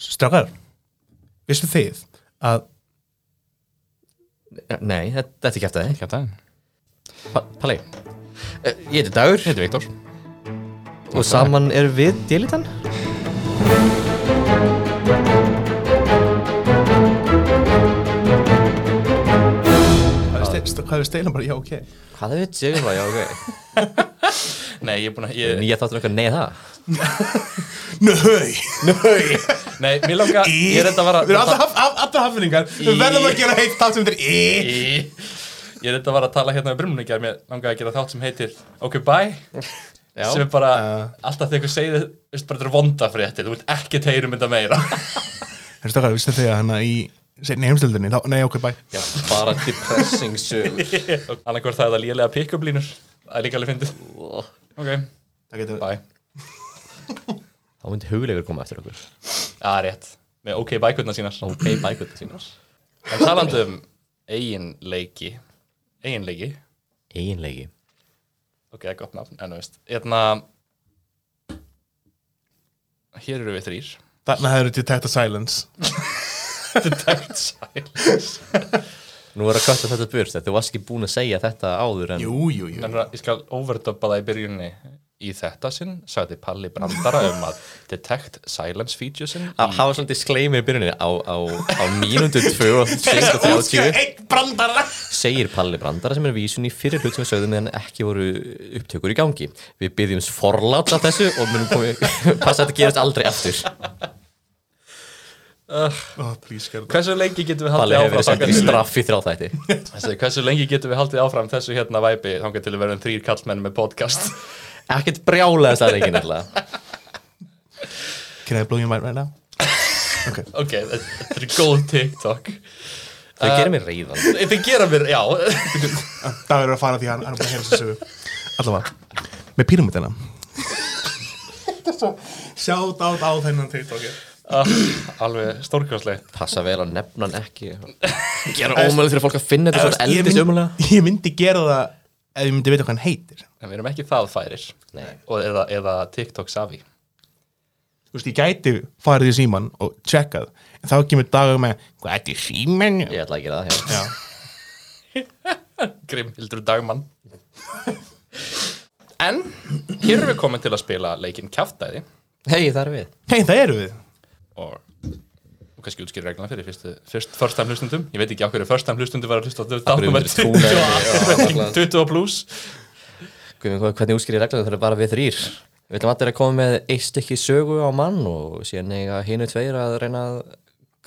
Strákar, vissu þið að Nei, þetta, þetta er kæftæði Kjartan Pa- Palli, eh, Ég heiti Dagur ég heiti Viktor og saman erum við Dílitan hvað er ste- hvað er steina bara, já, ok Hvað er við tjögum það? Já, ok Nei, ég er búin að ég, Nýja þáttur okkar, nei það Nei, Nei, mér langar Ég er þetta að Við erum vera alltaf, haf, alltaf hafningar Við verðum að gera heitt þátt sem þetta er í Í- Ég er þetta að vera að tala hérna um brunni gerð Mér langar að gera þátt sem heitir Ok, bye Já. sem er bara, Já. alltaf þegar ykkur segir veist bara þetta er vonda fréttir, þú vilt ekki teirum þetta meira En Strákar, vissu þið að hana í setni heimstöldinni, þá, nei, ok, bæ Já, bara depressing sög annarkvort það er það lélega pick-up línur það er líka alveg fyndið ok, Það getur bye, Þá myndi huglegur koma eftir okkur já rétt með ok bækutna sínar Ok, bækvöldu sínar en talandi um eiginleiki eiginleiki, Einlegi ok, það er gott nafn en þú veist, hérna hér eru við þrýr Þarna hefur Detect a Silence Detect Silence Nú er að kvarta þetta burt Þú varst ekki búin að segja þetta áður en Jú, jú, jú en hérna, ég skal overdubba það í byrjunni í þetta sinn sagði Palli Brandara um að Detect Silence feature sinn Að hafa svona disclaimer í byrjunni á, á, á mínundu 2 og Óskar 30 eitt brandara segir Palli Brandara sem er vísun í fyrir hlut sem við sögðum meðan ekki voru upptökur í gangi Við byggjum forláts af þessu og munum komi passa að þetta gerist aldrei aftur Ó, please, gerðu hversu lengi getum við Palli haldið hefur verið áfram sendur í straffi þrjá þætti Þessi, hversu lengi getum við haldið áfram þessu hérna væpi þangað til við verðum þrýr kallmenn með podcast Ekkert brjálega það enginn alltaf það Can I blow your mind right now? ok, þetta er góð TikTok Þau gerir mér reyðan þetta gera mér, já Dagur er að fara því að hann hann er búin að heyra þessu sögu Allavega, með píramidina Sjátt átt á þennan TikTok Ah, alveg stórkvæmslegt Passa vel að nefna hann ekki Gera ómölu þegar fólk að finna þetta svona eldis ömulega Ég myndi gera það ef ég myndi vita hvað hann heitir en við erum ekki það færir Nei. Og, eða, eða TikTok savi Þú veist, ég gæti farið í síman og checkað en þá kemur dagur með hvað er þetta í síman? Ég ætla ekki það já. Já, Grimhildur Dagmann en hér erum við komin til að spila leikinn kjaftæði Hei, það er við hei það eru við og, og kannski útskýra regluna fyrir fyrstu, fyrst, first time hlustundum ég veit ekki á hverju first time hlustundum var að hlusta á hverju þáttum myndir þú nefnir, já, 20 og pluss Guðmund, hvað- hvernig útskýrið reglum það er bara við þrýr Við ætlum allir að koma með eitt stykki sögu á mann og síðan eiga hinu tveir að reyna að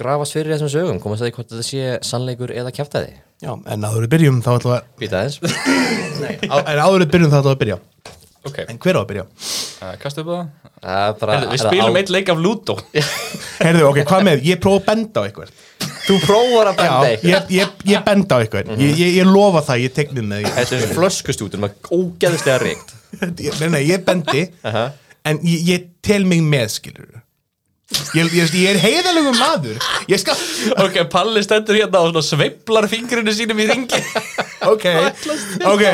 grafast fyrir þessum sögum komast að því hvort þetta sé sannleikur eða kjæftæði Já, en áður við byrjum þá ætlum við Býta aðeins að en áður við byrjum þá ætlum við að byrja ok, en hver á að byrja? uh, kastu upp á það Það er bara- Herðu, við það er spilum á- eitt leik af Ludo Heyrðu, ok, hvað með, ég prófa að benda á eitthvað Þú prófar að benda Já, ég, eitthvað ég, ég benda á eitthvað ég, ég, ég lofa það, ég tegnið með ég, Þetta er flöskustútur, maður ógeðislega reykt ég, nei, nei, ég bendi en ég, ég tel mig með, skilur ég, ég, ég er heiðalegu maður ég skal, ok, Palli stendur hérna og svona sveiflar fingrinu sínum í ringi ok ok,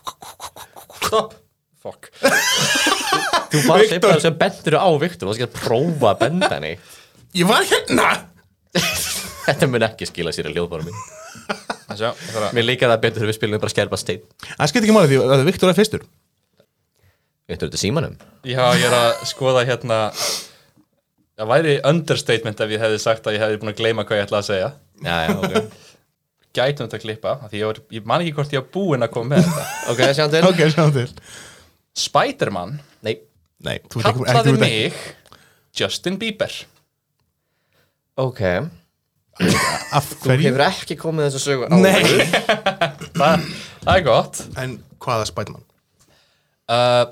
stopp fuck Þú bara Viktor. seifar þessu að bendur á Viktor og það skal prófa að benda henni ég var hérna Þetta mun ekki skila sér í hljóðbára mín Þessu, ég þarf að- Mér líka það betur þegar við spilum bara skerpa stein það skiptir ekki máli því að Viktor er fyrstur Viktor, þetta er símanum já, ég er að skoða hérna það væri understatement ef ég hefði sagt að ég hefði búin að gleyma hvað ég ætla að segja Já, já, ok gætum þetta að klippa af því ég, var, ég man ekki hvort ég var búinn að koma með þetta Ok, sjáum til ok, sjáum til Spiderman Nei, nei, þú ert ekki- kallaði ert ekki- mig Justin Bieber ok af Þú hverju hefur ekki komið þessu sögu á nei, Þa, það er gott en hvaða spætmann uh,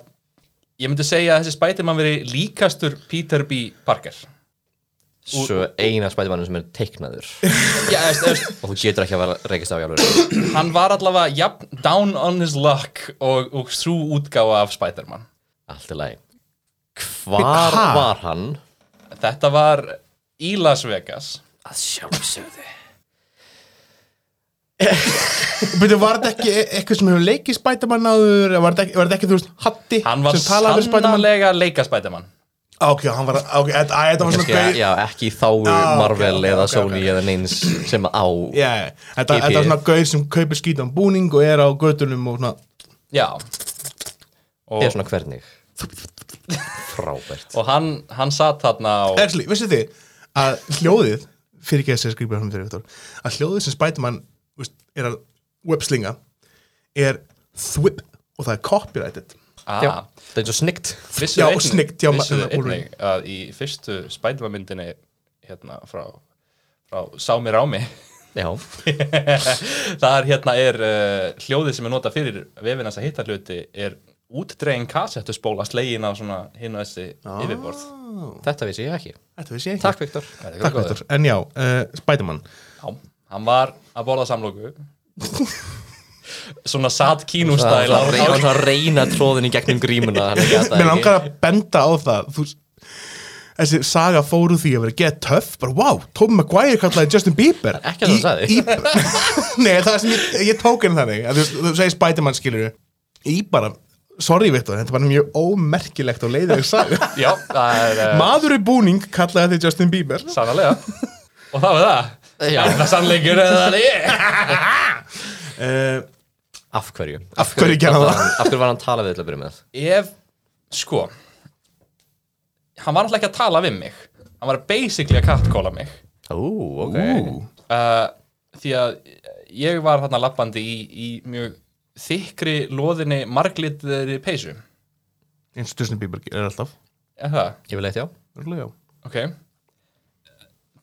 ég myndi segja að þessi Spiderman veri líkastur Peter B. Parker Svo eina spætumannum sem er teiknaður Já, veist, veist, Og þú getur ekki að vera reykist á í alveg hann var allavega jafn, down on his luck og, og sú útgáfa af Spiderman Allt er læg Hvar Ha? var hann? þetta var í Las Vegas Að sjálfsögðu Byrju, var þetta ekki e- eitthvað sem hefur leikið spætamann áður? Eða Var þetta ekki, var þetta ekki þú veist, Hatti hann var sem talaði fyrir spætamann? sannlega að leika Spiderman ok, hann var, ok, þetta æ, þetta var svona Kannski, gau- já, ekki í Ah, þáu ok, Marvel ok, eða ok, Sony ok. eða neins sem á Já, já, þetta GP. þetta var svona gauð sem kaupir skítan búning og er á götunum og svona já og, er svona hvernig frábært og hann, hann satt þarna og, Actually, vissu þið að hljóðið fyrir ekki að segja skrýpa hann fyrir Viktor að hljóðið sem Spiderman veist, er að webslinga er thwip og það er copyrighted já, ah, það er eins og snyggt vissu Já, og snyggt hjá ma- hérna, Úlfur. einnig að í fyrstu spændumamyndinni hérna frá, frá Sámi Rámi já, þar hérna er uh, hljóðið sem er notað fyrir vefinans að hitta hluti er útdregin kassettuspóla slegin á svona hinn og þessi yfirborð þetta vissi ég ekki Þetta vissi ég ekki takk Viktor Ah. Takk Viktor, en já, uh, Spiderman Já, hann var að borða samlóku svona sat kínustæl á, hann á, var að reyna tróðin í gegnum grímuna hann gat það Mér ekki. langar að benda á það þú, þessi saga fóru því að vera get tough, bara wow, Tobey Maguire kallaði Justin Bieber Ekki að það Í- í- Nei, það er sem ég, ég tók henni þannig að þú, þú segir Spiderman skilur í bara, sorry Viktor, þetta var mjög ómerkilegt og leiðileg saga já, það er uh, Maður í búning kallaði þið Justin Bieber sannlega og það var það Já. er það sannleikur eða það er uh, af hverju Af hverju gerði hann var hann- af hverju var hann að tala við til að byrja með ef, sko hann var náttúrulega ekki að tala við mig hann var basically að kattkóla mig ú, ok uh, því að ég var þarna lappandi í, í mjög þykri loðinni marglitri peysu eins og Justin Bieber er alltaf er það? ég vil eitt já Örugglega, já. ok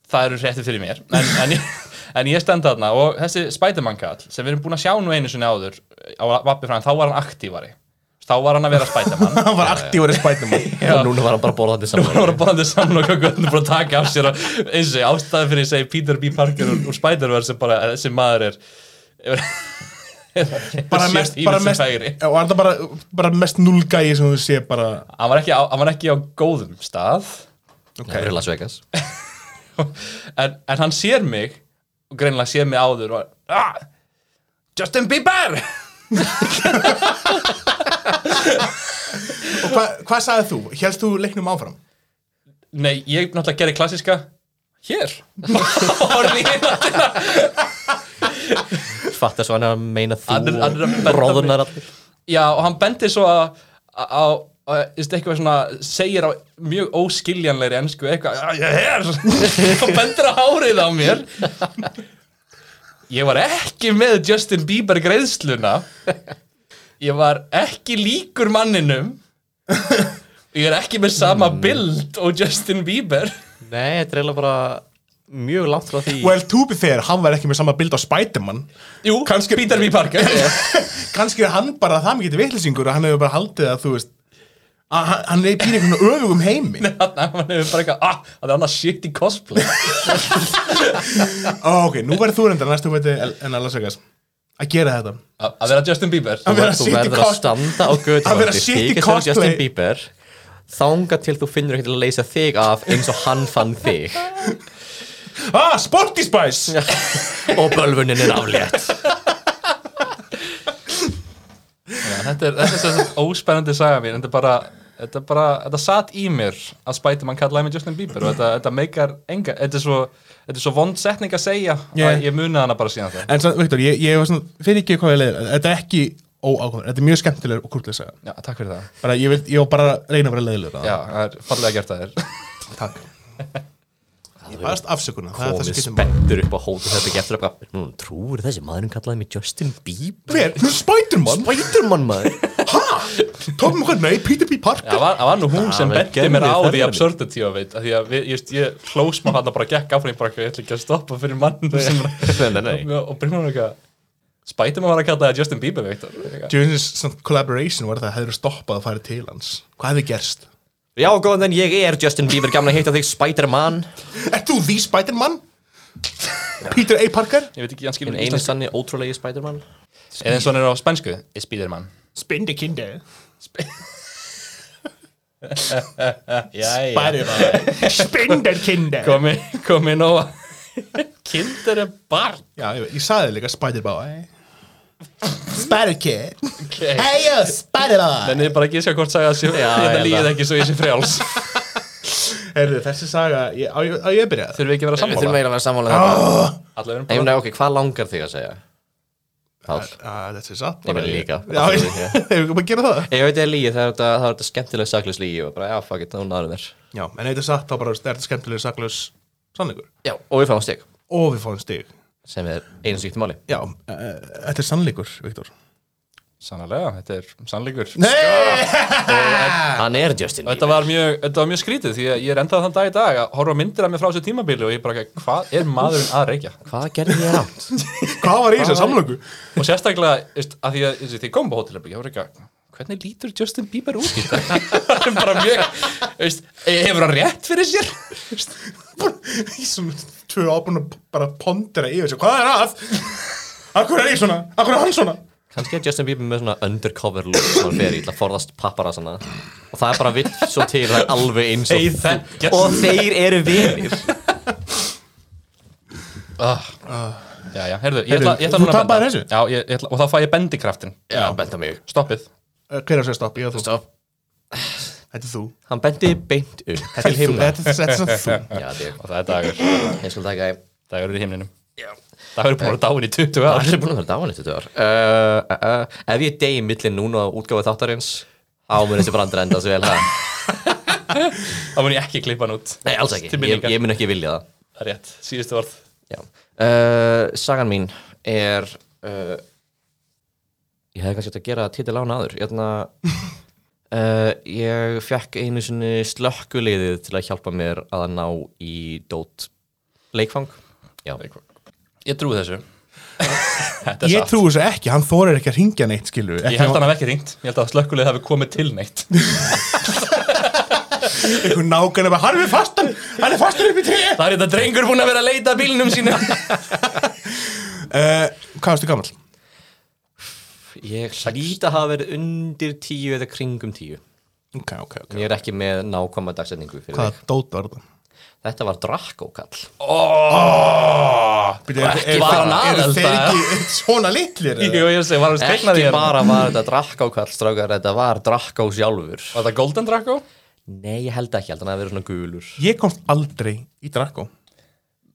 það eru rétti fyrir mér en, en, ég, en ég stend þarna og þessi Spiderman kall sem við erum búin að sjá nú einu sinni áður á vappi fram, þá var hann aktívari þá var hann að vera Spiderman Hann var aktívar í Spiderman og núna var hann bara að borða þetta hann var saman að bóðandi saman og um hvað hann er búin að taka af sér og eins og ég ástæði fyrir ég segi Peter B. Parker úr, úr Spider-Verse sem bara þessi maður er, er, er bara sé mest, ýmist bara sem mest, fegri. já, og er það bara, bara mest núlgæi sem þú sé bara hann var, ekki á, hann var ekki á góðum stað það er Las Vegas en, en hann sér mig og greinilega sér mig áður og ah, Justin Bieber og hva, hvað sagði þú? Hélst þú leiknum áfram? Nei, ég náttúrulega gerði klassiska Hér Horfði í hina áttina. fatt að svo hann er að meina þú Hann er- hann er að benda og bróðunar allir Já, og hann bendir svo að á- á, á þú veist, eitthvað svona segir á mjög óskiljanlegri ennsku eitthvað, "Ah, ég er hér og bendir á hárið á mér Ég var ekki með Justin Bieber greiðsluna Ég var ekki líkur manninum Ég er ekki með sama bild og Justin Bieber nei, þetta er eiginlega bara mjög langt frá því Well, to be fair, hann var ekki með sama bild á Spiderman Jú, Kannski- Peter B. Parker kannski er hann bara það mikið vitlisingur að hann hefur bara haldið að þú veist að hann- hann er býr einhvern öfugum heimi Þannig að hann hefur bara eitthvað, ah, það er annað shit í cosplay Ó, ok, nú verður þú reyndar næstu veit en að Las Vegas að gera þetta A- Að vera Justin Bieber að vera þú shit í verður að cos- standa á götu Að vera shit í cosplay. Justin Bieber þanga til þú finnur ekkert til að leysa þig af eins og hann fann þig Ah, Sporty Spice! og bölvunin er aflétt Já, Þetta er þess að óspennandi saga mín Þetta er bara, þetta er bara, þetta satt í mér að Spiderman kallaði mig Justin Bieber og þetta, þetta meikar enga, þetta er svo þetta er svo vond setning að segja Yeah. að ég muna hana bara síðan það En sann, Viktor, ég, ég var svona, fyrir ekki hvað ég leiðir þetta er ekki óákvæmur, þetta er mjög skemmtilegur og kurtlega saga Já, takk fyrir það bara, ég, vil, ég var bara að reyna að vera leiðilegur Já, það er fallega gert að þér Takk Ég baðast afsökunar, það er það og sem við getur maður spenntur upp á hótu þetta ekki eftir að nú trúur þessi maðurinn kallaði mig Justin Bieber Hver? Spiderman? Spiderman maður Hæ? Tókum okkur, nei, Peter B. Parker Já, það var, það var nú hún sem Það er benti gerði mér á því ferðinni. absurdity of it af Því að við, ég, ég hlós maður hann bara gekk áfram ég bara, ég ætla ekki að stoppa fyrir mann sem Nei, nei, nei. og brimur hann eitthvað Spiderman var að kalla það Justin Bieber, Viktor Djöfins svona collaboration var það að hefur stoppað að fara til hans Hvað hefði gerst? já góðan en ég er Justin Bieber gamla að hitta þig Spiderman Ert þú því Spiderman? Peter A. Parker? Ég veit ekki, hann skilur en einu sanni ótrúlegi Spiderman Eða eins og hann er á spænsku Spiderman Spindikindi Jæja Spiderman Spindikindi Komi, komi nóa Kinder er barn Já, ég, ég sagði líka Spiderboy Spiderkid okay. Hey yo, Spiderboy En ég bara gíska hvort sagði að sé- hérna Já, þetta ég líð held að- ekki svo ég sé frjáls Herðu, þessi saga, ég, á, ég- á ég að byrja Þurfum við ekki að vera Við þurfum sammála Ah. eiginlega að vera sammála þetta oh, Alla erum Ég bara meina, ok, hvað langar þig að segja? Páll, Þetta er Ah, satt ég meina líka Já, ég- hefur ekki bara að gera það Ég veit ég lígi, það er þetta, það er þetta skemmtilega saklaus lígi og bara, já, fuck it, þá náðum mér Já, en ef þetta er satt, þá bara er þetta skemmtilega saklaus sannleikur Já, og við fáum stig, Og við fáum stig sem er einu stíkt máli Já, uh, þetta er sannleikur, Viktor Sannlega, þetta er sannleikur Nei! Ah. Hann er Justin Þetta Bieber var, mjög, þetta var mjög skrítið því að ég er endað þann dag í dag að horfa á myndir af mér frá þessu tímabili og ég bara, hvað er maðurinn að reykja? Hvað gerði ég rámt? Hvað var í þessu samlöku? Og sérstaklega, veist, að því að þessi, því ég kom á hótelherbergi, ég var ekki að, hvernig lítur Justin Bieber út í dag? Það er bara mjög, veist, e- hefur hann rétt fyrir sér? Veist, Í sem tvö ábúin að bara pondera yfir þessu Hvað er að? Akkur er ég svona? Akkur er hann svona? Kannski er Justin Bieber með svona undercover look sem hann fer í til að forðast papparassana og það er bara vitt svo til, það er alveg eins og Hey, that þú. og þeir eru vinir ah. Já, já, heyrðu, ég Heyrðu, ætla, ég ætla þú núna að tapaðir benda. þessu? Já, ég, ég ætla, og þá fæ ég bendikraftin. Já, benda mig Stoppið. Uh, Hver er að segja stopp? Ég og þú Stopp. Þetta er þú Hann bendi beint upp Þetta til er þú himna Þetta er- þetta er þú Já, þetta er Og það er dagur. Ég skal taka í Dagur er í himninum. Já. Dagur er búin að dáin í 20 Það ár. er búin að vera dáan eitt þetta var uh, uh, uh, Ef ég degi millin núna á útgáfi þáttarins á mun þessi brandur enda svo vel ha? Þá mun ég ekki klippa hann út. Nei, alls ekki, Til ég, minningar. ég mun ekki vilja það Það er rétt, síðustu orð. Já. Uh, sagan mín er uh, ég hefði kannski átt að gera titil án aður Jörna, uh, ég fekk einu sinni slökkuliðið til að hjálpa mér að ná í dót leikfang Já, Ég trúi þessu. Þetta er Ég satt. trúi þessu ekki, hann þorir ekki að ringja neitt skilu Ég held að hann hafi ekki ringt. Ég held að slökkulegð hafi komið til neitt. Einhver nákvæmlega bara, hann er fastan Hann er fastan upp í tré Það er þetta drengur búin að vera að leita að bílnum sínum. uh, Hvað varstu gamall? ég hlýta hafa verið undir tíu eða kringum tíu Ok, ok, ok Ég er ekki með nákvæma dagsetningu fyrir Hvaða dót var þetta? þig. Þetta var Drakkókall. oh, Byrju, er- ekki er- var hann Eru aðelda. þeir ekki svona litlir? eða? Jú, ég sé, var hann speknaði Ekki hérna. bara var þetta Drakkókall, strákar, þetta var Drakkó sjálfur. Var þetta Golden Draco? Nei, ég held ekki, ég held hann að vera svona gulur. Ég komst aldrei í Draco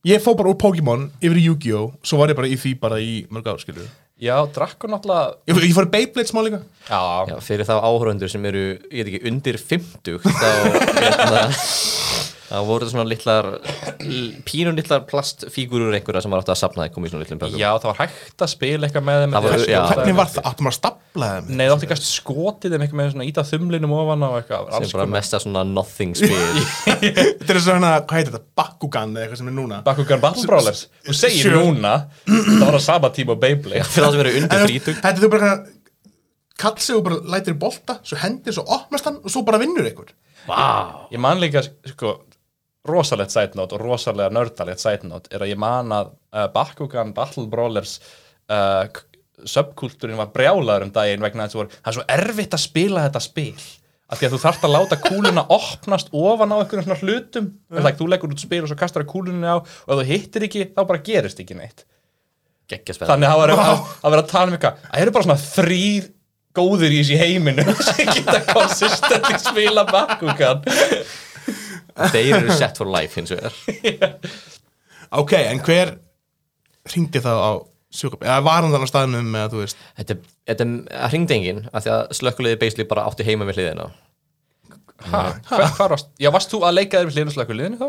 Ég fó bara úr Pokémon yfir í Yu-Gi-Oh! Svo var ég bara í því bara í mörg ár, skilur Já, Draco náttúrulega... Ég, ég fór í Beyblade smá líka Já, Já, fyrir þá áhörundur sem eru, ég veit ekki, undir 50, þá, hérna, þá voru þetta svona litlar, pínum litlar plastfígurur einhverja sem var átt að sapna þeim, komið í svona litlum bökum. Já, það var hægt að spila eitthvað með þeim Það var- já. Hvernig var það? Áttum maður að stapla þeim? Nei, það átti eitthvað skotið þeim eitthvað með svona íta þumlinum ofan á eitthvað Sem alls bara konar. mesta svona nothing spil. Þetta er svona, hvað heitir þetta? Bakugan eða eitthvað sem er núna Bakugan Battle Brawlers Þú segir Sure. núna Það var á sama tíma og Beyblade fyrir þá sem eru En undir þú veist, 30. Þetta er þú bara hérna, kall sig og bara lætir í bolta Svo hendir, svo opnast hann og svo bara vinnur einhver Vá! Ég man líka, sko rosalegt side note og rosalega nördalegt side note er að ég man að uh, Bakugan Battle Brawlers uh, k- subkultúrin var brjálaður um daginn vegna þess að voru, það er svo erfitt að spila þetta spil af því að þú þarft að láta kúluna opnast ofan á einhverjum svona hlutum yeah. like, þú leggur út spil og svo kastar að kúlunni á og ef þú hittir ekki, þá bara gerist ekki neitt Gekkja spenn. þannig að það var að, að vera að tala um eitthvað það eru bara svona þrýr góðir í þessi heiminu sem geta konsistentli spila Bakugan Þeir eru set for life, hins vegar. Ok, en hver hringdi það á sjúkabæ? Eða var hann þannig á staðnum með, þú veist Þetta, þetta það hringdi enginn af því að slökkulegði basically bara átti heima við hliðina Ha, hver, hvar varst, já, varst þú að leika þér við hlýðinu slöku liðinu þá?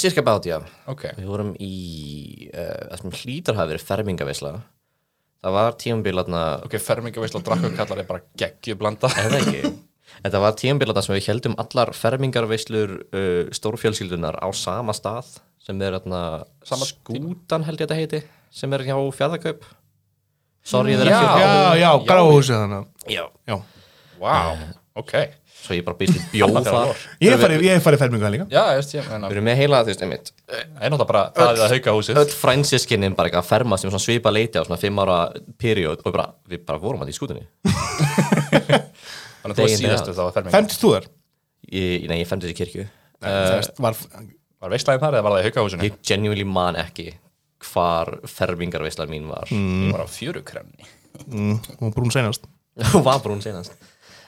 Cirka Eh, bát, já Ok, Við vorum í, uh, það sem hlýtur hafi verið fermingavisla Það var tímabilatna ok, fermingaveisla og drakkakallar er bara geggjublanda Eða ekki Þetta var tímabilatna sem við heldum allar fermingarveislur uh, stórfjölskyldunar á sama stað sem er þarna Sama skútan held ég þetta heiti sem er hjá fjárðakaup Sorry, það er Já. ekki Já, já, já, gráhúsið þannig Já. Já Wow, ok Svo ég bara basically bjóð Alla þeirra þar vor. Ég hef farið- ég hef farið fermingan líka Já, ég veist ég, menna, Við erum með heila, þú veist, einmitt það er náttúrulega bara það er að hauka húsið öll frænsiskinin bara eitthvað að ferma sem svona svipa leiti á svona fimm ára period og bara, við bara vorum hann í skútunni Þannig að þú var Degin er síðastu þá að ferminga Femtist þú þar? ég, Nei, ég fendur þessi kirkju Þú veist, var Var veislaðin þar eða var það í hauka húsinu? Ég genuinely man ekki hvar fermingarveislar mín var Ég var á fjörukremni mm, hún var brún seinast Eh, og var brún senast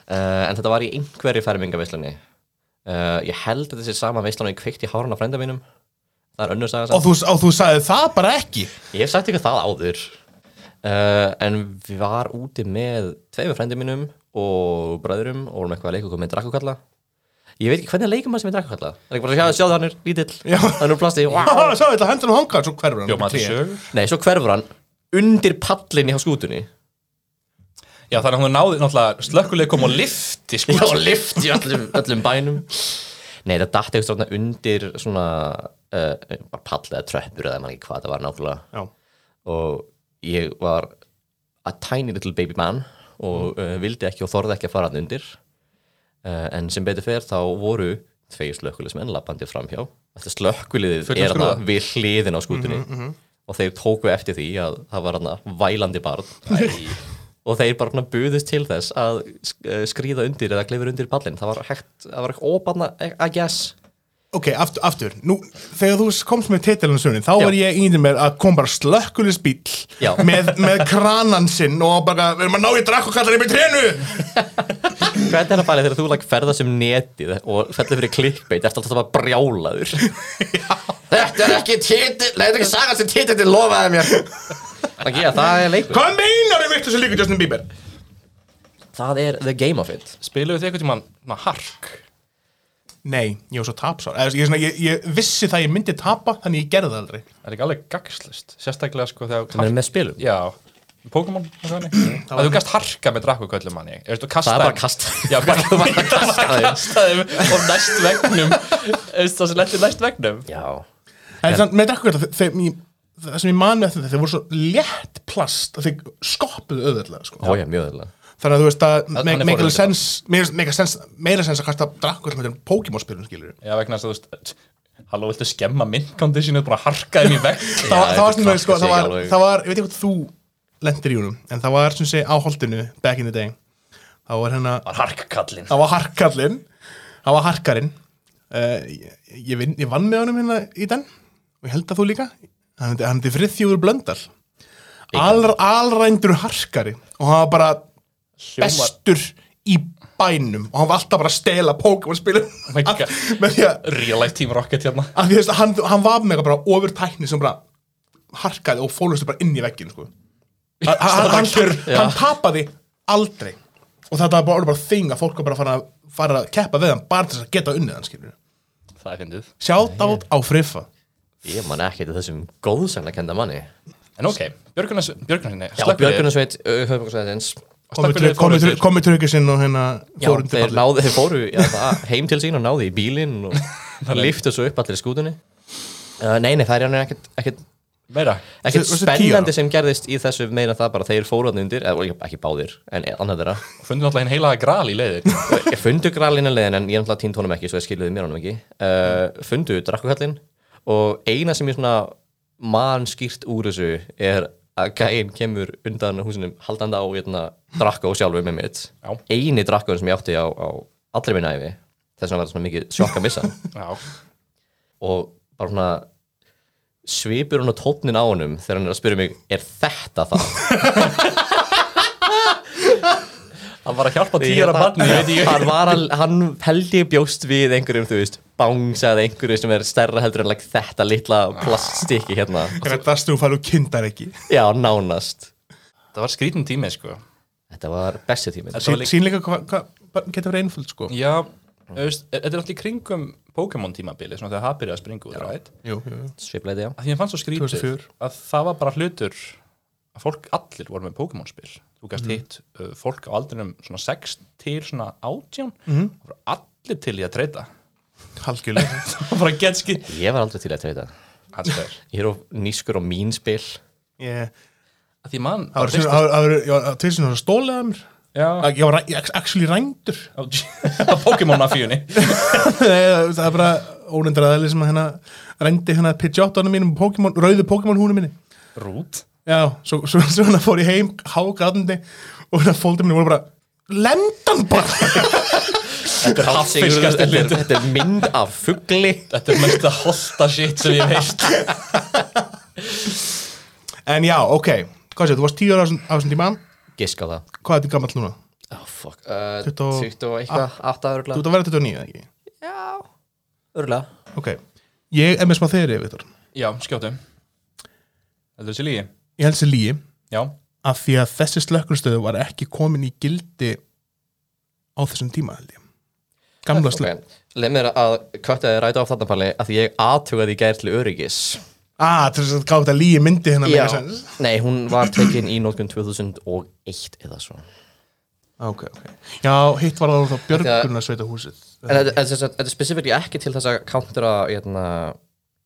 uh, en þetta var í einhverju fermingarveislunni uh, ég held að þessi sama veislan og ég kveikt í hárun á frænda mínum það er önnur saga Og þú, og þú sagði það bara ekki Ég hef sagt ykkur það áður uh, En við var úti með tveimur frændum mínum og bræðurum og vorum eitthvað að leika okkur með drakkukalla Ég veit ekki hvernig að leikum maður sem er drakkukalla Það er ekki bara að sjá það hann er lítill Já. Það er nú plasti wow. Sá þetta hendur hann hanga, svo hverfur hann upp í Ljóma til tré. sögur Nei, svo hverfur hann undir pallinni hjá skútunni Já, þannig að hún náði náttúrulega slökkuleg kom og lifti sko Já, lift í öllum, öllum bænum Nei, það datt eitthvað svona undir svona uh, bara pall eða tröppur eða ég man ekki hvað það var nákvæmlega Já. og ég var a tiny little baby man og uh, vildi ekki og þorði ekki að fara hann undir uh, en sem betur fer þá voru tvei slökkulismenn lappandi framhjá þetta slökkuliðið Fulla er skrúða. hann við hliðin á skútunni og þeir tóku eftir því að það var hann vælandi barn og þeir bara svona buðust til þess að skrýða undir eða glifur undir pallin það var hægt, það var ekki óbanna I guess Ok, aftur, aftur. Nú, þegar þú komst með titilinu sunni, þá var ég índið mér að kom bara slökkulisbíl Já. með, með kranan sinn og bara, við erum að ná í drakk og kallar upp í trénu. Hvernig er það bælið þegar þú like, ferðast um netið og fellur fyrir clickbait eftir alltaf að brjálaður Þetta er ekki titill, nei þetta er ekki saga sem titill lofaði mér Það, já, það er leikur Hvað meinar þið vittu sem líka Justin Bieber? Það er the game of it Spiluðu þið eitthvað tíma, tíma hark Nei, ég var svo tapsár. Eða, Ég, svona- ég, ég vissi það ég myndi tapa, þannig ég gerði það aldrei. Það er ekki alveg gagslist Sérstaklega sko Það þegar er með spilum Já Pokémon og þannig. að þú gast harka með drakkuköllum manni Þú veist, þú kasta Það er bara þeim. að kasta Já, bara þú bara kasta kastaði og næst vegnum Þú veist, það sem lettir næst vegnum Já En samt, með drakk og það sem ég man með þetta, þeir voru svo létt plast að þeir skoppuðu öðvöldlega, sko. Ó já, mjög öðvöldlega Þannig að þú veist að Hann- hann make- er make a forvitinn. sense, meira- make a sense, meira sens að kasta drakkur sem þetta er Pokémon spilum skilur Já, vegna þess að þú veist Halló, viltu skemma myndkondisínu bara harka þeim í vegg Það var, Já, það var þetta svona, sko, trakkar sig það var, alveg. það var, ég veit ekki hvað þú lendir í húnum, en það var sem sé á holdinu back in the day, þá var hérna Var harkkallin það var harkallinn, það var harkarinn uh, ég, ég, vinn- ég vann með honum hérna í den og ég held að þú líka hann heiti- hann heiti Friðþjófur Blöndal Al, alrændur harkari og hann var bara bestur í bænum og hann var alltaf bara að stela Pokémon spilum Oh my God. með því að Real life team rocket hérna að því að hann, hann var með eitthvað bara ofur tækni sem bara harkaði og fólustu bara inn í veggin sko. hann, hann, hann, hann tapaði aldrei og þetta var bara, orðið bara þing að fólk var bara að fara, fara að keppa við hann bara til þess að geta unnið hann skilur Það er fyndið sjátt át á friffa Ég man ekki til þessum góðsækna kenda manni En ok, Björgunarsinni Já, Björgunarsveit, uh, höfumkvæmstæðins komið trökkið sinn og hérna Já, fórum til þeir, allir náðu, þeir fóru já, það, heim til sín og náðu í bílinn og liftu svo upp allir í skútunni uh, Nei, nei, það er hann ekkert, ekkert Meira ekkert Þessi- þessi tíu ára. spennandi sem gerðist í þessu meira það bara þeir fóru hann undir, eða ekki- ekki báðir en annað þeirra, Fundum alltaf hinn heilaða gral í leiðir ég fundu gralinu leiðin en ég er náttúrulega tínt honum ekki, svo ég skiljuði mér honum ekki uh, fundu drakkukallin og eina sem ég svona mann skýrt úr þessu er að gæinn kemur undan húsinum haldandi á hérna, drakku og sjálfu með mitt Já. eini drakkuðin sem ég átti á, á allri minna æfi, þess vegna var það svona mikið sjokk að missa hann Já og bara svona svipur hún á tótnin á honum þegar hann er að spyrja mig, er þetta það? Hann var að hjálpa tíara barni, ég hérna- veit ég hann var að, hann held ég bjóst við einhverjum, þú veist, bangs eða einhverju sem er stærra heldur en like, þetta litla plaststykki hérna, þetta stu fælu kindar ekki já, nánast Það var skrítin tími, sko þetta var besti tíminn Þetta var líka sínleika hvað hva, hva, getur verið einföld sko Já, þú veist, e- þetta er alltaf í kringum Pokémon tímabilið, svona þegar það byrjaði að springa út, right? jú, jú. jú. svipleiti, já, Af Því ég fannst svo skrítið 2004. að það var bara hlutur að fólk allir voru með Pokémon-spil Þú gæst hitt uh, fólk á aldrinum svona 6 til svona 18 mm. og voru allir til í að treyta algjörlega Það var bara get skýt ég var aldrei til að treyta ég er of nýskur og mín spil Ég- Því mann það var tvisinu það var tvisinu að stólaða mér Já, ég var ra- ég- actually rændur á Pokémon-afíunni Nei, það er bara ónendur aðeins sem að hérna rendi hérna pidgeottanum mínum, Pokémon, rauðu Pokémon húnum minni. Rút Já, svo, svo, svo hérna fór ég heim hágatandi og hérna fóldum minni voru bara Lendan bara! Þetta er Sigurður, haffiskast þetta er- þetta er mynd af fugli Þetta er mesta hosta shit sem ég veist en já, ok, hvað séu, þú varst tíu ára á þessum- á þessum tíma, gisk á það hvað er þetta gammal núna? oh, fuck, uh, 20 20 og eitthvað, 8 Þú örgla ert að vera 29, eða ekki? já, örgulega Ok, ég er með smá þeirri, Viktor Já, skjótum Heldur þessi lígi? Ég held sér lígi Já, af því að þessi slökkunstöðu var ekki komin í gildi á þessum tíma, held ég Gamla slökk okay. Leð mér að kvötta þið ræta á þarna palli að því ég aðtugaði í gær til öryggis Ah, til þess að gáta lígi myndi hennar meira sens. Nei, hún var tekin í nótgun 2001 eða svo Ok, ok. Já, hitt var alveg þá björgunarsveita húsið. En þetta- þetta er sem sagt- þetta er spesifíkt ekki til þess að countera hérna,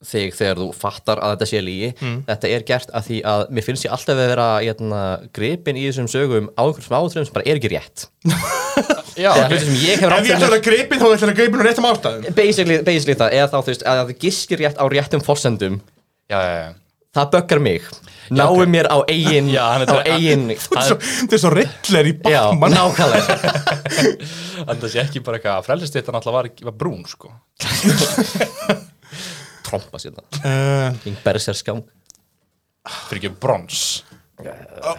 þig þegar þú fattar að þetta sé lígi Mm. Þetta er gert að því að mér finnst ég alltaf að vera hérna, gripin í þessum sögum á einhverjum átröfum sem bara er ekki rétt já Það er hluti sem ég hef Ef ég rátt ætlar að greipi þá ætlar að greipi nú réttum ástæðum. basically, basically það, eða þá þú veist að það giskir rétt á réttum forsendum Já, já, já það böggar mig náu mér á eigin Já, hann er á dre- eigin Þetta er svo- þetta er svo rittler í já, bakmann. nákvæmlega Þannig að sé ekki bara eitthvað Frelsistittan alltaf var, var brún, sko trompa sérna, Uh, hérna. king berserskjá Fyrir ekki brons ok,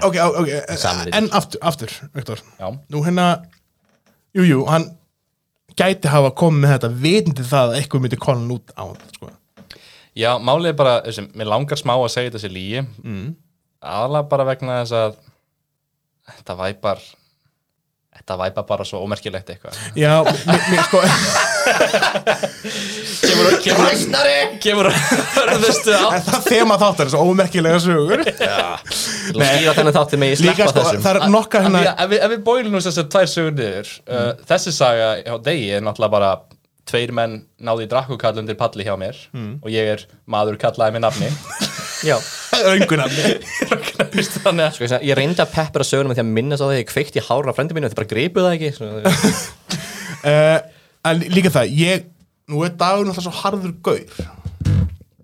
ok, ok. eh, Samlítur. En aftur, aftur, Viktor. Já, Nú hérna, jú, jú, hann gæti hafa komið með þetta vitandi það að eitthvað myndi konan út á hann, sko. já málið er bara þessi, Mér langar smá að segja þessi lígi mm. Aðalega bara vegna þess að Þetta væpar Þetta væpar bara svo ómerkilegt eitthvað Já, mér, mér, sko, Kemur, kemur, kemur Hörðustu á en það þema þáttar er svo ómerkilega sögur. skýra þennan þátti með ég Líka, sleppa sko, þessum það er nokka Af því hérna, að- Ef við, ef við bólum nú þess að tvær sögur niður uh, Þessi saga á degi er náttúrulega bara Tveir menn náði í drakkukall undir palli hjá mér Og ég er maður kallaði með nafni já öngunafni. Þannig að Sko, ég segi, ég reyndi að peppra söguna með því að minnast á því að ég kveikti í hára frendi mínu og þið bara gripuð það ekki Svo- uh, en líka það, ég nú er dagur náttúrulega svo harður gaur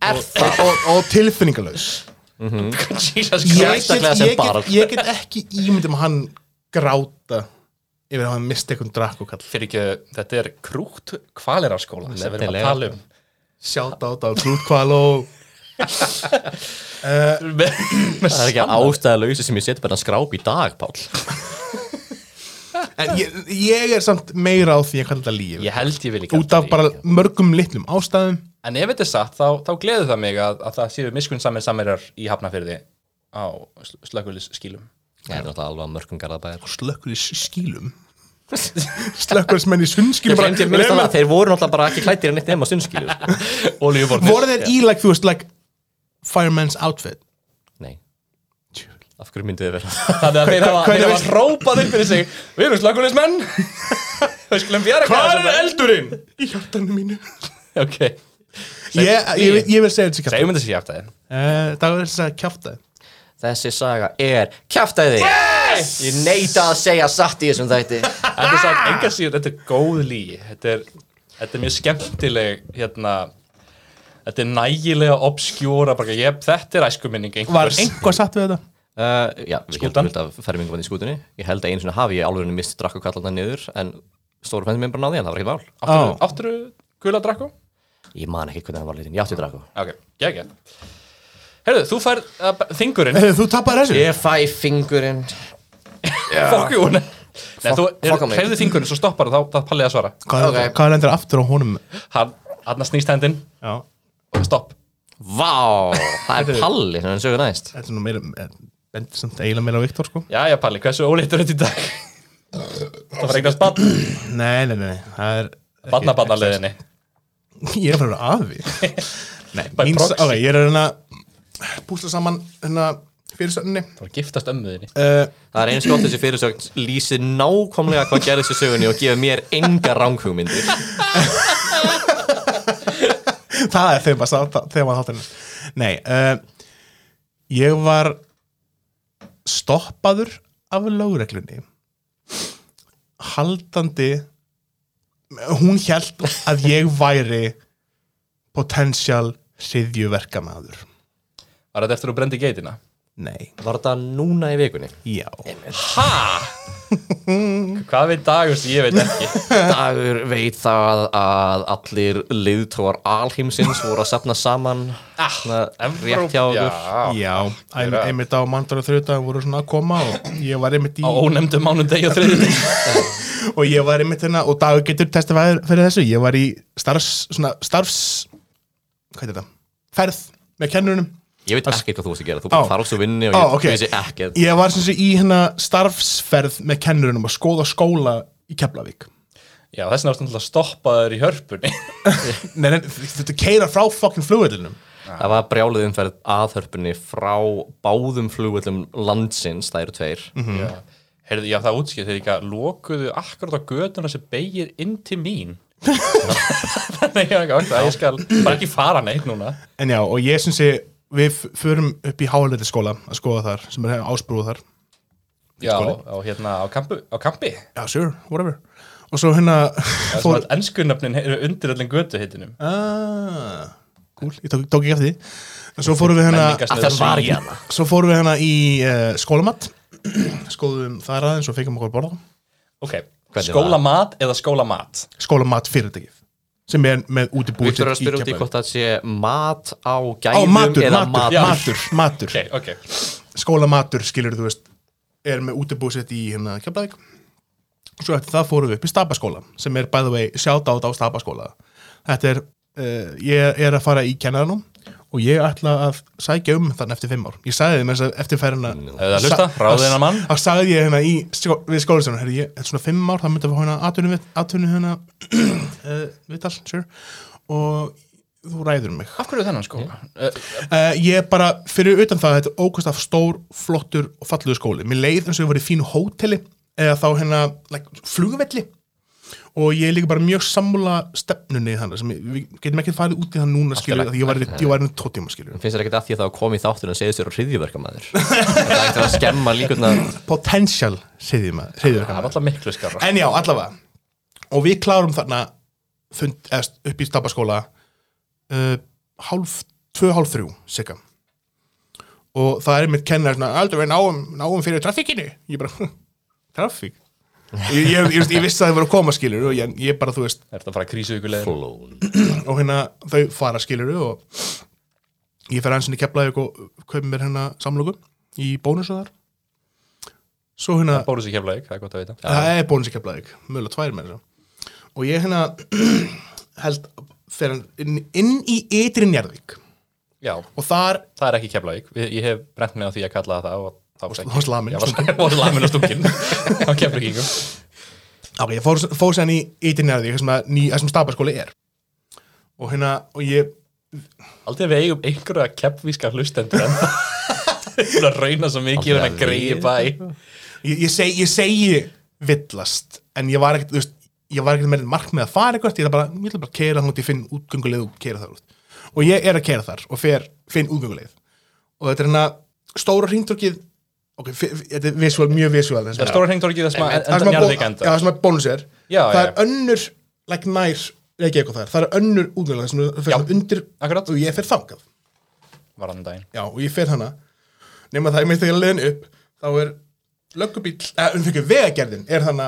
er það og, og tilfinningalaus Jesus ég Christ get, Sérstaklega sem ég, barn. get, ég get ekki ímyndum að hann gráta yfir að hann misti eitthvað drakkukall Fyrir ekki, þetta er krútt kvalirarskóla sem við erum að Nefnilega. tala um sjátt á þetta á grútkval og með, með það er ekki ástæða lausi sem ég seti bara að skráp í dag, Páll en ég, ég er samt meira á því að kalla þetta líf Ég held ég vil ekki út af bara mörgum litlum ástæðum En ef þetta er satt, þá, þá gleður það mig að, að það séu miskun samir samirjar í hafnafyrði á slökulis skilum Það er náttúrulega alveg að mörgum garðabæðir slökkulis skýlum slökkulismenn í sunnskýlum Ég reyndi að minnast á það, þeir voru náttúrulega bara ekki klættir en eitt nema sunnskýlu Olíubornir voru þeir í like, þú veist, like fireman's outfit Nei Af hverju myndu þið vera Þannig að þeir hafa, hvernig þeir hafa veist- hrópað upp fyrir sig Við erum slökulismenn Við skulum bjarga þessu menn." eldurinn? Í hjartanum mínu Ok, Ég, ég, vil- ég vil segja þetta segjum þetta sér hjátt að uh, Það var þess að kjáfta Þessi saga er kjæftæði yes! Ég neita að segja satt í þessum þætti Þetta er samt enga síður, þetta er góð lígi Þetta er, þetta er mjög skemmtileg hérna Þetta er nægilega obskjóra bara, ég, þetta er æskuminning Var einhvers. einhvað satt við þetta? uh, Já, við Skútan. heldum að fermingum var í skútunni Ég held að einu sinni hafi ég alveg misti drakkukallarna niður En stóru fændum minn bara náði en það var ekki mál Áttirðu, Á. áttirðu gula drakku? Ég man ekki hvernig hann var litin, ég átti drakku Ok, gegja Herðu, þú færð uh, þingurinn Hefðu, Eh, þú tappaði þessu? Ég fæ fingurinn Fokk jú Nei, þú fuck á mig. hefðu þingurinn, svo stoppar þá, þá pallið að svara Hvað, Ok. okay. hvað er endur aftur á honum? Hann, hann snýst hendinn, Já, stopp Vá, það er palli sem hann sögur næst þetta er nú meira eh, Bendir samt eiginlega meira á Viktor sko Jæja Palli, hversu óleittur þetta í dag? Það var eignast barn, Nei, nei, nei, það er barnabarnarleðinni Ég er að fara að vera afi Nei, By mín, proxy. ok, ég er að reyna að Púsla saman hérna fyrirsönni Það var giftast ömmuðinni uh, Það er einu skott þessi fyrirsögn lýsir nákvæmlega hvað gerðist í sögunni og gefur mér enga ranghugmyndir Það er þeim að sáta Þeim að þátturinn Nei, uh, ég var stoppaður af lögreglunni haldandi hún held að ég væri potential hriðjuverkamaður Var þetta eftir að þú brendi geitina? Nei, Var þetta núna í vikunni? já Ha? Hvað veit dagur sem ég veit ekki Dagur veit það að allir liðtóar alheimsins voru að safna saman svona rétt hjá okkur Já, Já, ein, einmitt á mandar og þrjóta voru svona að koma og ég var einmitt í á ónefndu mánudegi og þriðinu og ég var einmitt hérna og dagur getur testifaðir fyrir þessu ég var í starfs, svona starfs hvað er þetta? Ferð með kennurunum Ég veit ekkert hvað þú varst að gera, þú Á. bara farst úr vinni og Á, ég ok. vissi ekkert Ég var sem sé í hérna starfsferð með kennurunum að skoða skóla í Keflavík Já, þess vegna varstu náttúrulega stoppaður í hörpunni Nei, nei, þetta keira frá fokkin flugvöldinum Það var brjálið umferð aðhörpunni frá báðum flugvöllum landsins, það eru tveir Já, Heyrðu, já það útskýr þegar líka lokuðu akkurat á göduna sem beigir inn til mín Þannig að ég, okay, ég skal bara ekki fara neitt núna En já, og ég sem sé við f- förum upp í háleitiskóla að skoða þar, sem er ásbrúð þar Já, á, hérna, á, kampu, á kampi Já, sure, whatever Og svo hérna Það sem fór, að ennskunöfnin eru undir allan götu hittinum ah, Cool, ég tók, tók ekki eftir því En svo fórum við hérna Að það var ég hana Svo fórum við hérna í uh, skólamatt Skoðum þar aðeins og fengum okkur að borða Ok, Hvernig skólamat eða skólamat Skólamatt fyrirtækið sem er með útibúið Við þurfum að spyrja út í Keflavík. hvort það sé mat á Á, gæðum matur, eða matur, matur matur, matur, matur. Ok, ok Skólamatur, skilur þú veist, er með útibúið sitt í hérna Keflavík. Svo eftir það fórum við upp í Stabaskóla, sem er, by the way, sjátt á Stabaskóla. Þetta er, uh, ég er að fara í kennaranum og ég ætla að sækja um þann eftir fimm ár. Ég sagði þeim þess að eftir ferðina... Hefðu það hlusta, ráðið hennar mann Það sagði ég hérna í, skó- við skólistunum, herri, ég, þetta er svona fimm ár, það myndi að fá hérna atunum við, atunum hérna, uh, viðtal, sure, og þú ræður mig. Af hverju þennan skóla? Uh, Uh, ég bara, fyrir utan það, þetta er ókvæmst af stór, flottur og falluðu skóli. Mér leið eins og ég var í fínu hóteli eða þá hérna like, flugvelli og ég er líka bara mjög sammúla stefnunni þannig sem ég, við getum ekki farið út í það núna skilur lagt- því ég var í- ég var nú tótt tíma skilur Finnst þér ekkert að því að það kom í þáttunum að segja sér á hriðjuverkamæður Það er ekkert að skemma líkurna potential, segðum að það er alltaf miklu skarra en já, allavega og við klárum þarna fund, eðst, upp í stabaskóla uh, hálf, tvö hálf þrjú sigga og það er mitt kennar svona, aldrei við náum, náum fyrir trafikinu ég bara, trafik ég, ég, ég, veist, ég vissi að það voru að koma skilur og ég, ég bara, þú veist, Er þetta að fara að krísu ykkur leiðin? Flón og hérna þau fara skilur og ég fer aðeins inn í keplaði og köpum mér hérna samlokum í bónus og þar svo hérna Bóruðs í keflaug, það er gott að veita Það er bónus í Keflavík, mögulega tvær með þessu Og ég hérna held fer hann inn, inn í ytri Njarðvík Já, og þar það er ekki keflaug Ég hef brent mig á því að kalla það og það var Þú ekki varst sko. lamin Ég var var lamin og stungin á keflaugingum Ok, ég fór, fór sér hann í ytri Njarðvík þar sem, að ný- þar sem stafaskóli er og hérna og ég Aldrei við eigum einhverja kefvískar hlustendur en það að rauna svo mikið og að Aldrei að greiði vita. bæ ég, ég, seg, ég segi villast en ég var ekkert, þú veist, ég var ekkert með markmið að fara eitthvað, ég ætla bara, ég ætla bara að keira þannig að ég finn útgönguleið og keira þar út og ég er að keira þar og fer, finn útgönguleið og þetta er hérna stóra hringtorkið ok, fi- fi- þetta er visual, mjög visual þessi- Það er stóra hengtorkið það sem að það enda sem að bó- njarðvík já, enda það sem að bónus er Já, það já, er já. önnur, like nær Reykjavík og þar, það er önnur útgönguleið sem er- fer Já, svona undir akkurat. og ég fer þangað var annan daginn Já, og ég fer hana nema það, ég minnst þegar leiðin upp þá er löggubíll, eða um fyrir vegagerðin er hana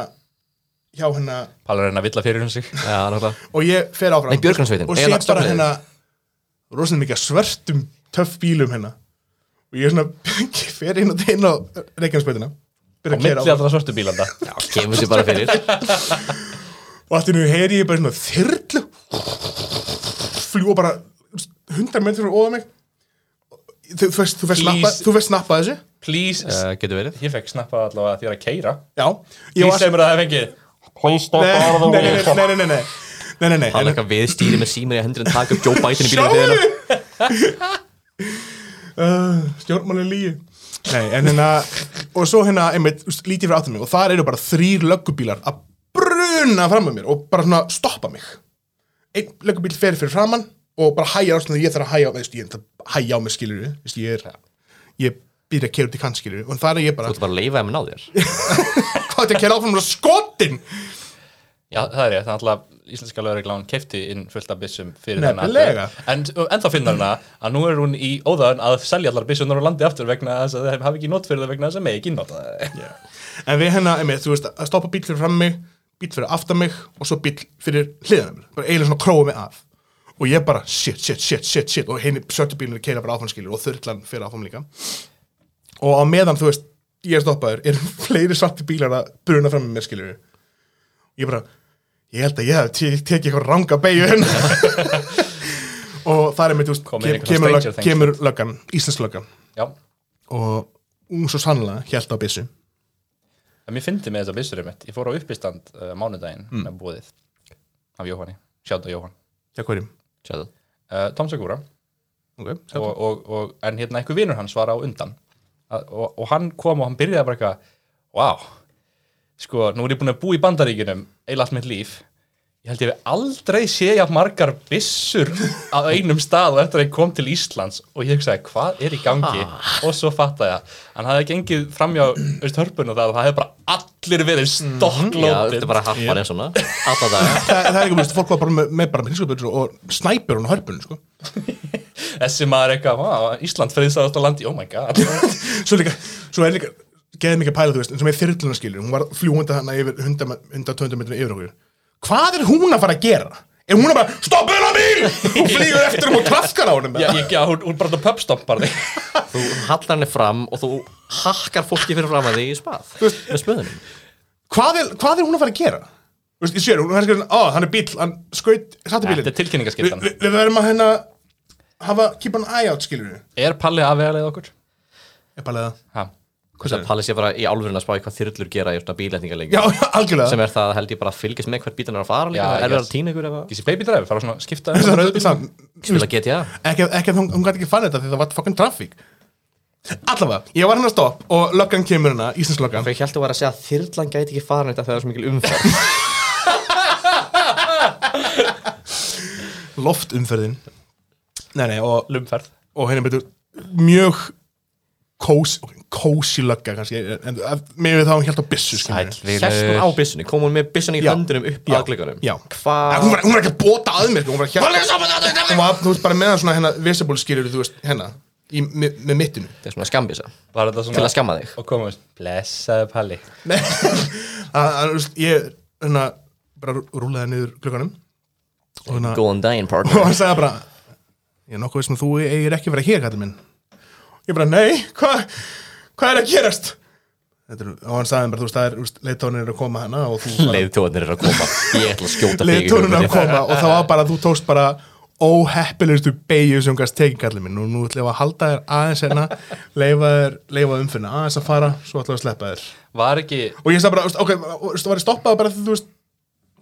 hjá hana Pallar er henn að villa fyrir hún sig Já, náttúrulega og ég fer áfram Nei, björgunarsveitin, og sé eða bara slökkviliðið. hana rosalega mikið af svörtum töff bílum hérna og ég er svona, ég fer inn og inn á reikjansbeitina á milli allra svartu bílanda Kemur sér bara fyrir og allt í nú heyri ég bara svona þyrlu fljúa bara hundar menn fyrir óða mig þú þú veist, þú veist Please. snappa, þú veist snappa þessu Please, Eh, Getur verið ég fekk snappa allavega því að keira já, ég Please var segir mér að það fengið Please stop out of the nei, way. nei, nei, nei, nei, nei, nei, nei, nei. Hann er En- eitthvað við stýri með símur í hendur en taka upp Joe Biden í bílum Sjáðu! við hérna Uh, Stjórnmálin líi Nei, en hérna Og svo hérna, einmitt, úst, lítið fyrir aftur mig Og þar eru bara þrýr löggubílar að bruna fram með mér Og bara svona stoppa mig Einn löggubíl fer fyrir framann Og bara hæja á svona, ég þarf að hæja á veist, Ég þarf að hæja á mig skilur veist, Ég er, ég byrja að kera út í kann skilur Og þar er ég bara, Þú ert bara að leifa þeim að ná þér hvað þetta kera áfram með skotin Já, það er ég, það er alltaf íslenska lögreglán kefti inn fullt af byssum fyrir Nefnilega. atburð. En, og- en þá finnar hana að nú er hún í óðaðan að selja allar byssunar og landi aftur vegna þess að þeim hafi ekki nót fyrir það vegna þess að megi ekki nót En við hérna, einmitt, þú veist, að stoppa bíl fyrir fram mig, bíl fyrir aftan mig og svo bíl fyrir hliðan mér. Bara eiginlega svona króa mig af. Og ég bara, shit, shit, shit, shit, shit, og henni sjöttubílinu keira bara áfannskilur og þurrlan fyrir áfram líka. Og á meðan, þú veist, ég er stoppaður, eru fleiri svarti bílar að bruna fram með mér skilur. Ég bara, ég held að ég hef te tekið eitthvað ranga beigju hérna. og það er einmitt, þú veist, Kom kem, inn eitthvað kemur, Stranger lög, Things. kemur löggan, íslensk löggan. Já, en Og hún svo sannlega held á byssu. mér fyndi með þessa byssur einmitt Ég fór á uppistand uh, mánudaginn Mm. með búðið af Jóhanni, sjátt á Jóhann Já, hverjum? Sjáðu. uh, Tom Segura Ok, og, og, og, en hérna einhver vinur hans var á undan að, og, og hann kom og hann byrjaði bara eitthvað wow, sko, nú er ég búin að búa í bandaríkinum eila allt mitt líf ég held ég hef aldrei séð jafn margar byssur á einum stað og eftir að ég kom til Íslands og ég hugsaði, hvað er í gangi Ah. og svo fattaði ég að hann hafði gengið framjá veist, hörpun og það og það hefði bara allir verið Mhm. Já, þetta stokklótið er bara harpar eins og svona Alla daga Þa, það er ekki mjög, fólk var bara með, með bara pinskjöpur og snæpir hún á hörpunum, sko. þessi maður eitthvað, "Vá, Ísland friðsæðast á landi, oh my god Svo líka, svo er líka, geðið mikið pæla, þú veist, eins og með þyrluna skilur, hún var fljúandi hana yfir 100 100-200 metrin yfir okkur. Hvað er hún að fara að gera? Er hún að bara, stoppa hennar bíl! Hún flýgur eftir hún og trafkar á hennum. já, ég, já, hún, hún bara pubstompar þig Þú hallar henni fram og þú hakkar fólki fyrir fram að þig í spað Með spöðunum Hvað er, hvað er hún að fara að gera? Þú veist, ég sér, hún er skilur, ó, hann er bíl, hann skaut, hrætti bílinn. Þetta er tilkynningaskyldan. Við- Við við verðum að hérna, hafa, keep an eye out, skilur við. Er Palli afvegalegið okkur? Ég bara leiða. Ha. Hvers að Palli sé bara í álfurinn að spá í hvað þyrlur gera í svona bílætningarleik Já, algjörlega. sem er það held ég bara að fylgjast með hvert bítan er að fara líka Já, Það er verið yes. að týna ykkur eða Gísi Baby Drive, fara svona að skipta Það er auðvitað samt- spila GTA ekki, ekki að hún, hún gæti ekki fann þetta því það var fucking trafík allavega, ég var hann að stopp og löggan kemur hana, íslensk löggan Ég held að vera að segja að þyrlan gæti ekki fara neitt af því að það er svo mikil umferð loftumferðin nei, nei, og, Lumferð og henni betur mjög kósi kósi lögga kannski en mér við þá hún held á byssu skilurðu. Hjælt hún á byssunni, kom hún með byssunni í Já. höndunum upp Já. að glöggunum Já. Nei, Hvað hún var, hún var ekki að bóta að mér sko, hún var ekki að hún var, þú veist, bara með hann svona hérna, visible skilur, þú veist, hérna í, með, með mittinu Þetta er svona skambisa Var þetta Til svona að skamma þig Og komum við Blessaði Palli Nei, að, að, þú veist, ég hérna, bara rúlaði niður klukkanum og hérna Góðan daginn partner og hann sagði bara ég er nokkuð sem þú eigir ekki að vera hér kallið minn ég bara nei, hvað hvað er að gerast Þetta er, og hann sagði bara þú veist það er leittónin er að koma hana og þú Leiðtóðanir eru að koma Ég ætla að skjóta þig í leittónin er að höfuðið. koma og það var bara þú tókst bara óheppilegustu beigju sem gæst tekið kallið minn og nú ætlum við að halda þér aðeins hérna leifa þér, leifa umfinna aðeins að fara svo ætlum við að sleppa þér Var ekki og ég sagði bara, þú veist, ok, og, þú veist, var ég stoppað bara því, þú veist,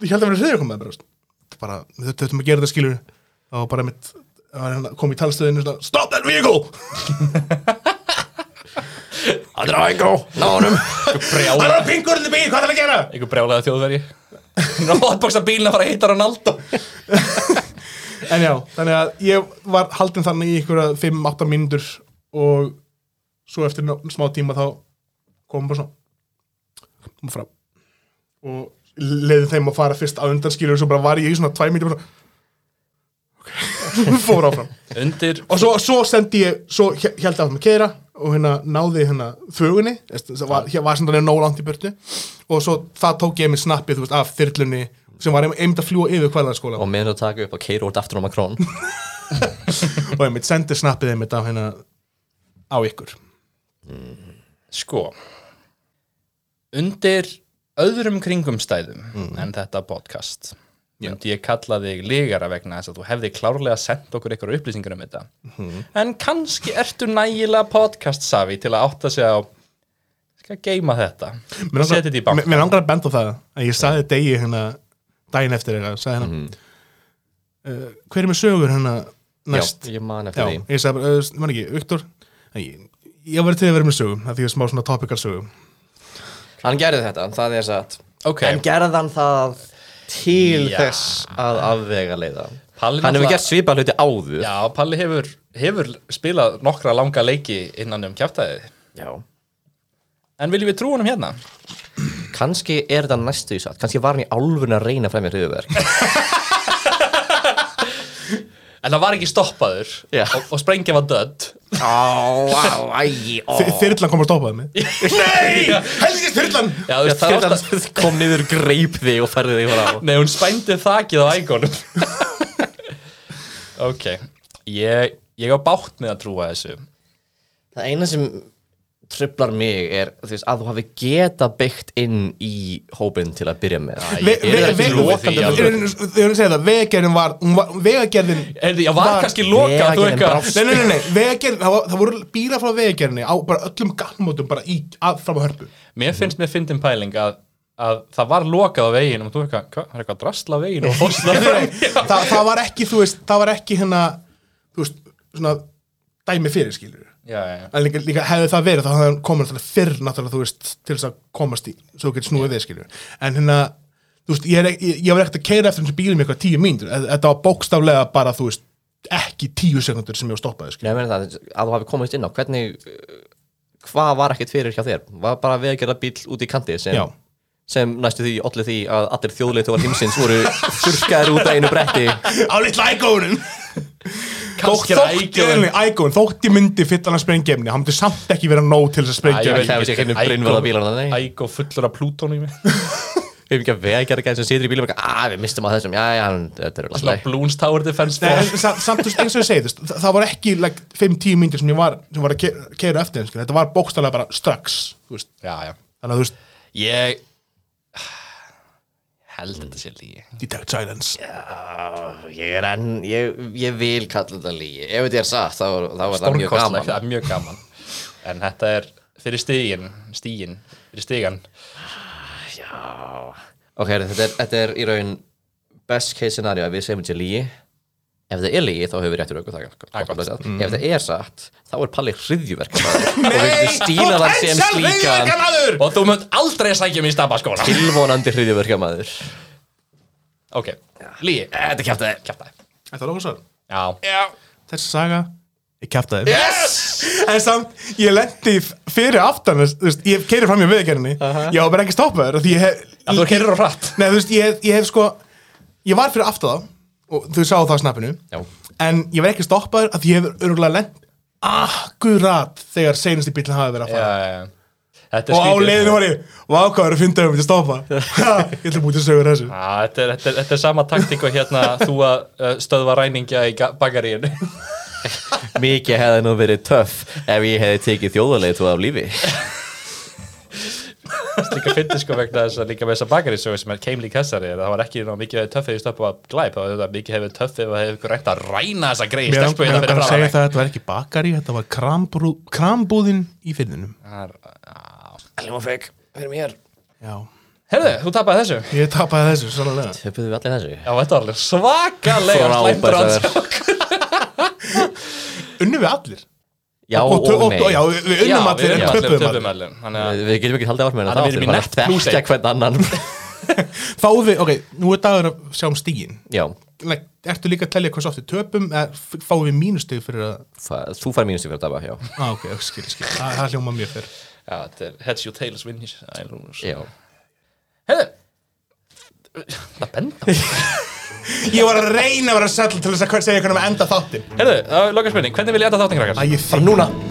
ég held að vera hriður komað bara, þú veist, bara, við þurftum að gera þetta skilur og bara mitt var hérna, kom í talstöðinu svona, stop that vehicle Hann er á engó Ná honum það er Brjála að pingur inn í bíl, hvað er að gera Einhver brjálaða þjóðveri Ná, hotboxa bílinn að fara að hitta Ronaldo en já, þannig að ég var haldin þannig í einhverja 5-8 mínútur og svo eftir ná- smá tíma þá komum bara svona komum fram og leiði þeim að fara fyrst á undan skilur og svo bara var ég í svona 2 mínútur bara, ok, fór áfram Undir og svo, svo sendi ég, svo hé- held áfram að keira og hérna náði hérna þögunni, það var, hér var sem þannig nóg langt í burtu og svo það tók ég mér snappið þú veist, af þyrlunni sem var einmitt einmitt að fljúa yfir kvælanskóla Og meðan þú taka upp og keira út aftur á Macron og einmitt sendi snappið einmitt af hérna á ykkur Sko Undir öðrum kringumstæðum en þetta podcast myndi ég kalla þig ligara vegna þess að þú hefði klárlega sendt okkur eitthvað upplýsingar um þetta en kannski ertu nægilega podcast safi til að átta sig á skal geima þetta Mér langar- setja þetta í bank Mér mér langar að benda á það að ég sagði degi hérna daginn eftir eitthvað, sagði hérna Mhm. uh, hver er með sögur hérna næst Já, ég man Já, eftir því ég sagði bara, uh, mann ekki, Viktor nei, ég, ég var til að vera með sögum, það því ég er smá svona topikar sögum Hann gerði þetta, það er satt Ok. En gerði hann það til Já. þess að afvega leiða Palli Hann hefur náttúrulega- gert svipað hluti áður Já, Palli hefur, hefur spilað nokkra langa leiki innan um kjáftæði Já. en viljum við trú honum hérna? kannski er þetta næstu í satt kannski var hann í álfun að reyna fremja hriðuverk En það var ekki stoppaður Já. og, og sprengja var dödd Þi- Þyrlan kom að stoppa það mig Nei! Já, Helgist þyrlan þú veist, það var alltaf kom niður, greip þig og færði þig frá Nei, hún spændi þakið á ægonum Ok Ég, ég á bátt með að trúa þessu það eina sem trublar mig er þú veist, að þú hafi geta byggt inn í hópin til að byrja með Æ, ég er ekki trúið því, alveg. Þegar hún segir það, vegagerðin var hún var- Vegagerðin Heyrðu, ég var Var- kannski lokað þú Vegagerðin eitthvað brást. Nei, nei, nei, nei, vegagerðin það, var- það voru bíla frá vegagerðinni á bara öllum gatnamótum bara í, að, fram á hörpu Mér finnst mér fyndin pæling að, að það var lokað á veginum og þú eitthvað, hvað, það er eitthvað að drasla á veginum og fórst það Nei, það, það var ekki, þú veist, það var ekki hérna Þú veist, svona dæmi fyrir skilur Já, já, já En líka, líka hefði það verið þá hefði hann komið náttúrulega fyrr náttúrulega þú veist til þess að komast í svo þú getur snúið við skilur en hérna þú veist ég, er, ek- ég, ég var ekkert að keira eftir þessum bílum í eitthvað tíu mínútur Þe- þetta var bókstaflega bara þú veist ekki tíu sekundur sem ég var stoppaði skilur Nei, meni, það, að þú hafi komist inn á hvernig, uh, hvað var ekkert fyrir hjá þér var bara við að gera bíl út í kanti sem, Já. sem næstu því, olli því að allir þjóðleitóar heimsins voru þurrkaðir út af einu bretti á litla ægónum Kannski er ægjóðin ægón þótt ég myndi fylla hann að sprengja efni hann myndi samt ekki vera nóg til þess að Æ, ég sprengja efni veit Það var sér einnig brinnverða bílarna, nei. Ægó fullur af plútónum við hefum ekki að vega gera gæði sem situr í bílum og eitthvað, að við mistum að þessum, já, já, hann- þetta er Svona alltaf Bloons Tower Defense Nei, en Force samt, samt þú veist, eins og ég segi þú veist, það, það var ekki like, 5-10 myndir sem ég var sem var að ke- keira eftir þeim, skilur. þetta var bókstaflega bara strax þú veist. Já, já þannig að þú veist Ég held þetta sé lígi detect silence ég er enn, ég, ég vil kalla þetta lígi, ef þetta er satt þá, þá er það mjög Stórkostlegt, gaman það er mjög gaman En þetta er fyrir stígin Stígin, fyrir stígan Já Ok, þetta er, þetta er í raun best case scenario að við segjum þetta lígi Ef það er lígi þá hefur við réttur auku það er gott- Mm. Það gott er gott. að blessa. Ef það er satt, þá er Palli hryðjuverk og við stíla það sem slíkan slíkan Og þú mönd aldrei sækja mig í sko. stabaskóla tilvonandi hryðjuverkamaður Ok, lígi Þetta kjæfti það Kjæfti það Þetta var lókusar Já Þessi saga Ég kæfti þeim En samt, ég lendi fyrir aftan Þú veist, ég keiri fram í veðgerðinni Ég var bara ekki stoppaður af Því ég hef Að þú kerur á hratt Nei, þú veist, ég, hef- ég hef sko Ég var fyrir aftan þá Og þú sáu það á snappinu Já. En ég var ekki stoppaður af Því ég hef örgulega lent Akkurat Þegar seinasti bílinn hafi verið að fara Þetta Og á er leiðinu skrítið var ég Vákaður að finna um að stoppa Ha, Ég ætla að búið til sögur þessu Já, Þetta er- þetta er- þetta er sama taktík og hérna þú að uh, stöðva ræningja í ga- bakaríinu Mikið hefði nú verið töff ef ég hefði tekið þjóðarleit af lífi líka fyndi sko vegna þess að líka með þessa bakarísögu sem er keim líka þessari það var ekki ná mikið hefði töffið í stöppu að glæp það var auðvitað mikið hefði töffið og hefði ykkur reynt að ræna þessa greið Mér stelpu hérna langar fyrir bara að framan segja mig. það að þetta var ekki bakari, þetta var krambrú, krambúðin í fyrninum. Það er- á. Elmofreg, fyrir mér Já. Herðu, þú tapaði þessu Ég tapaði þessu, sannlega. Töpuðu við allir þessu? Já, þetta var alveg svakalega slæmdur Frábært að að- vera. Unnum við allir. Já og nei Já, við- við Já, unnum við allir, erum en allir töpuðum allir. töpumælum Þannig að Við getum ekki haldið áfram með Þannig við erum í þetta net plus Þekkja eitt. hvern annan Fáðu við, ok, nú er dagur að sjá um stígin. Já, Like, ertu líka að tellja hversu oft við töpum, eða f- fáum við mínustöðu fyrir að... það- þú fær mínustu fyrir að dafa, já Á, ok, skil, skil. Það það hljóma mjög fyrir. Já, þetta er heads your tails win his I lose. Já, sko. Herðu Það benda Ég var að reyna að vera sætl til þess að segja hvernig að enda þáttinn. Herðu, það er loka spurning Hvernig vil ég enda þáttingrakar? Æ, ég þarf núna.